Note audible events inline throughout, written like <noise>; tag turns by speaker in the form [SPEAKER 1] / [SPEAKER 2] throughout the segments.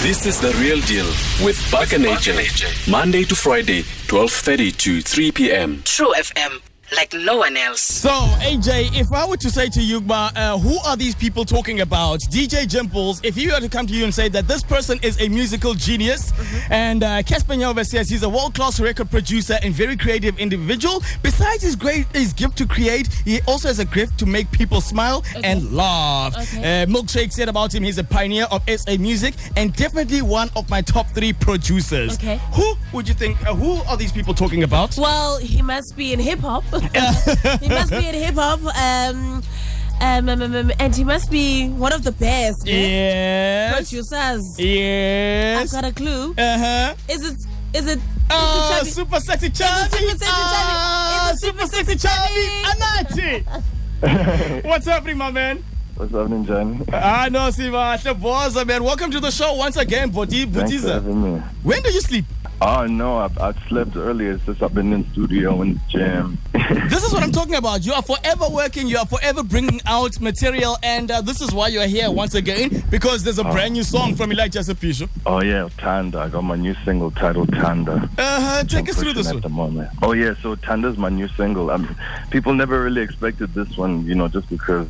[SPEAKER 1] This is the real deal with Buck and AJ. Monday to Friday, 12:30 to 3 p.m.
[SPEAKER 2] True FM, like no one else.
[SPEAKER 3] So, AJ, if I were to say to Yugma, uh, who are these people talking about? DJ Jimples, if he were to come to you and say that this person is a musical genius,
[SPEAKER 4] Mm-hmm.
[SPEAKER 3] and uh, Casper Nyova says he's a world class record producer and very creative individual, besides his great his gift to create, he also has a gift to make people smile and laugh. Uh, Milkshake said about him, he's a pioneer of SA music and definitely one of my top three producers.
[SPEAKER 4] Okay.
[SPEAKER 3] Who would you think, uh, who are these people talking about?
[SPEAKER 4] Well, he must be in hip hop. <laughs> he must be in hip hop. Um, um, um, um, um, and he must be one of the best eh?
[SPEAKER 3] Yes.
[SPEAKER 4] producers. I've
[SPEAKER 3] Yes.
[SPEAKER 4] got a clue.
[SPEAKER 3] Uh huh.
[SPEAKER 4] Is it? Is it?
[SPEAKER 3] Oh,
[SPEAKER 4] is it Chubby?
[SPEAKER 3] super sexy chubby.
[SPEAKER 4] super sexy chubby.
[SPEAKER 3] Ah,
[SPEAKER 4] It's a
[SPEAKER 3] super sexy chubby.
[SPEAKER 4] <laughs>
[SPEAKER 3] Anachi. What's happening, my man?
[SPEAKER 5] What's
[SPEAKER 3] <laughs>
[SPEAKER 5] happening, Johnny?
[SPEAKER 3] I know, Siva. Boza, man. Welcome to the show once again, Bodi
[SPEAKER 5] Thanks for
[SPEAKER 3] Butiza.
[SPEAKER 5] having me.
[SPEAKER 3] When do you sleep?
[SPEAKER 5] Oh no, I, I slept earlier. It's just I've been in studio and
[SPEAKER 3] <laughs>
[SPEAKER 5] jam.
[SPEAKER 3] This is what I'm talking about. You are forever working. You are forever bringing out material, and uh, this is why you are here once again because there's a
[SPEAKER 5] Ah.
[SPEAKER 3] brand new song from Elijah Sepisho.
[SPEAKER 5] oh yeah, Tanda. I got my new single titled Tanda.
[SPEAKER 3] Uh huh. Take
[SPEAKER 5] I'm
[SPEAKER 3] us through
[SPEAKER 5] pushing
[SPEAKER 3] this
[SPEAKER 5] at
[SPEAKER 3] one.
[SPEAKER 5] the moment. Oh yeah, so Tanda's my new single. I mean, people never really expected this one, you know, just because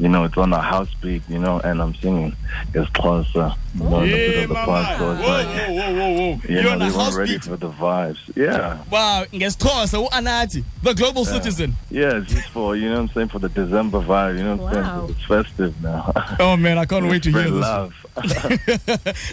[SPEAKER 5] you know it's on a house beat, you know, and I'm singing it's closer. You know, and a bit
[SPEAKER 3] Yeah,
[SPEAKER 5] of the
[SPEAKER 3] mama.
[SPEAKER 5] vibe
[SPEAKER 3] Whoa,
[SPEAKER 5] goes like,
[SPEAKER 3] whoa, whoa, whoa, whoa.
[SPEAKER 5] you
[SPEAKER 3] You're
[SPEAKER 5] know,
[SPEAKER 3] on
[SPEAKER 5] we
[SPEAKER 3] a
[SPEAKER 5] weren't
[SPEAKER 3] house
[SPEAKER 5] ready
[SPEAKER 3] beat.
[SPEAKER 5] for the vibes. Yeah.
[SPEAKER 3] Wow, ngesiXhosa uAnathi, the global citizen.
[SPEAKER 5] Yeah, it's just for you know what I'm saying for the December vibe, you know what I'm saying?
[SPEAKER 4] Wow.
[SPEAKER 5] 'Cause It's festive now. <laughs>
[SPEAKER 3] Oh man, I can't wait to hear
[SPEAKER 5] Spread
[SPEAKER 3] this.
[SPEAKER 5] love.
[SPEAKER 3] <laughs>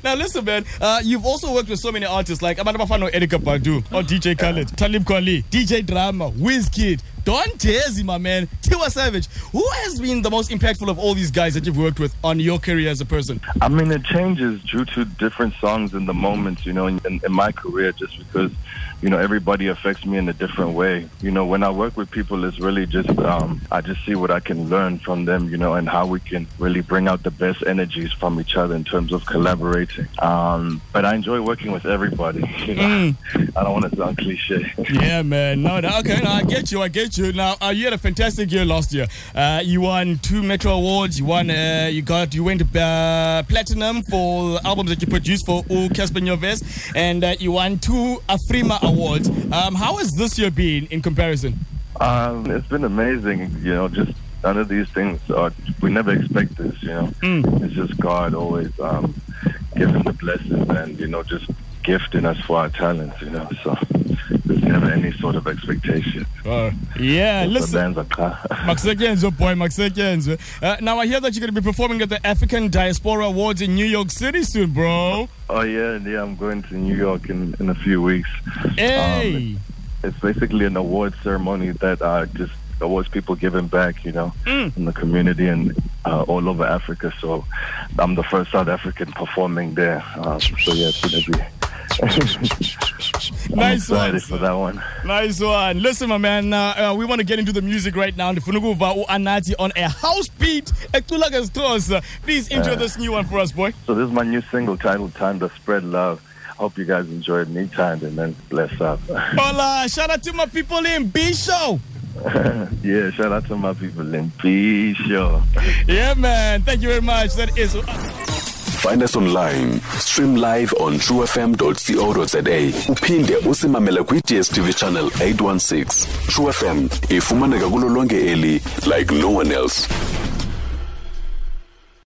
[SPEAKER 3] now listen, man. Uh, you've also worked with so many artists like Amanda Bafano, Erika Badu, or DJ Khaled, Talib Kweli, DJ Drama, Wizkid, Don Jazzy, my man, Tiwa Savage. Who has been the most impactful of all these guys that you've worked with on your career as a person?
[SPEAKER 5] I mean, it changes due to different songs and the moments, you know, in, in my career, just because, you know, everybody affects me in a different way. You know, when I work with people, it's really just, um, I just see what I can learn from them, you know, and how we can really bring out the best energies from each other in terms of collaborating. Um, but I enjoy working with everybody. <laughs> You know?
[SPEAKER 3] Mm.
[SPEAKER 5] I don't want to sound cliche.
[SPEAKER 3] Yeah, man. No, no, okay, no, I get you. I get you. Now, uh, you had a fantastic year last year. Uh, you won two Metro Awards. You won. Uh, you got. You went uh, platinum for albums that you produced for U Casper Nyovest, and uh, you won two Afrima Awards. Um, how has this year been in comparison?
[SPEAKER 5] Um, it's been amazing, you know, just none of these things are, we never expect this, you know. It's just God always um, giving the blessings and, you know, just gifting us for our talents, you know. So there's never any sort of expectation.
[SPEAKER 3] Uh, yeah,
[SPEAKER 5] But
[SPEAKER 3] listen.
[SPEAKER 5] man's a car. <laughs>
[SPEAKER 3] Makusekenzo, boy, Makusekenzo. Uh, now, I hear that you're going to be performing at the African Diaspora Awards in New York City soon, bro.
[SPEAKER 5] oh, yeah, and yeah, I'm going to New York in, in a few weeks.
[SPEAKER 3] Hey!
[SPEAKER 5] Um, It's basically an award ceremony that uh, just awards people giving back, you know, in the community and uh, all over Africa. So I'm the first South African performing there. Um, so yeah, it's gonna be. <laughs> I'm
[SPEAKER 3] Nice one,
[SPEAKER 5] excited
[SPEAKER 3] sir.
[SPEAKER 5] for that one.
[SPEAKER 3] Nice one. Listen, my man, uh, uh, we want to get into the music right now. Ndifunukuva uanati on a house beat. Ecula ngesixhosa. Please intro this new one for us, boy.
[SPEAKER 5] So this is my new single titled "Time to Spread Love." Hope you guys enjoyed me time and then bless up. <laughs>
[SPEAKER 3] Hola, shout out to my people in B Show.
[SPEAKER 5] yeah, shout out to my people in P Show.
[SPEAKER 3] Yeah, man. Thank you very much. That is.
[SPEAKER 1] Find us online, stream live on truefm.co.za. Uphinde usimamele kwi DSTV channel 816. True FM ifumaneka kulo lonke eli like no one else.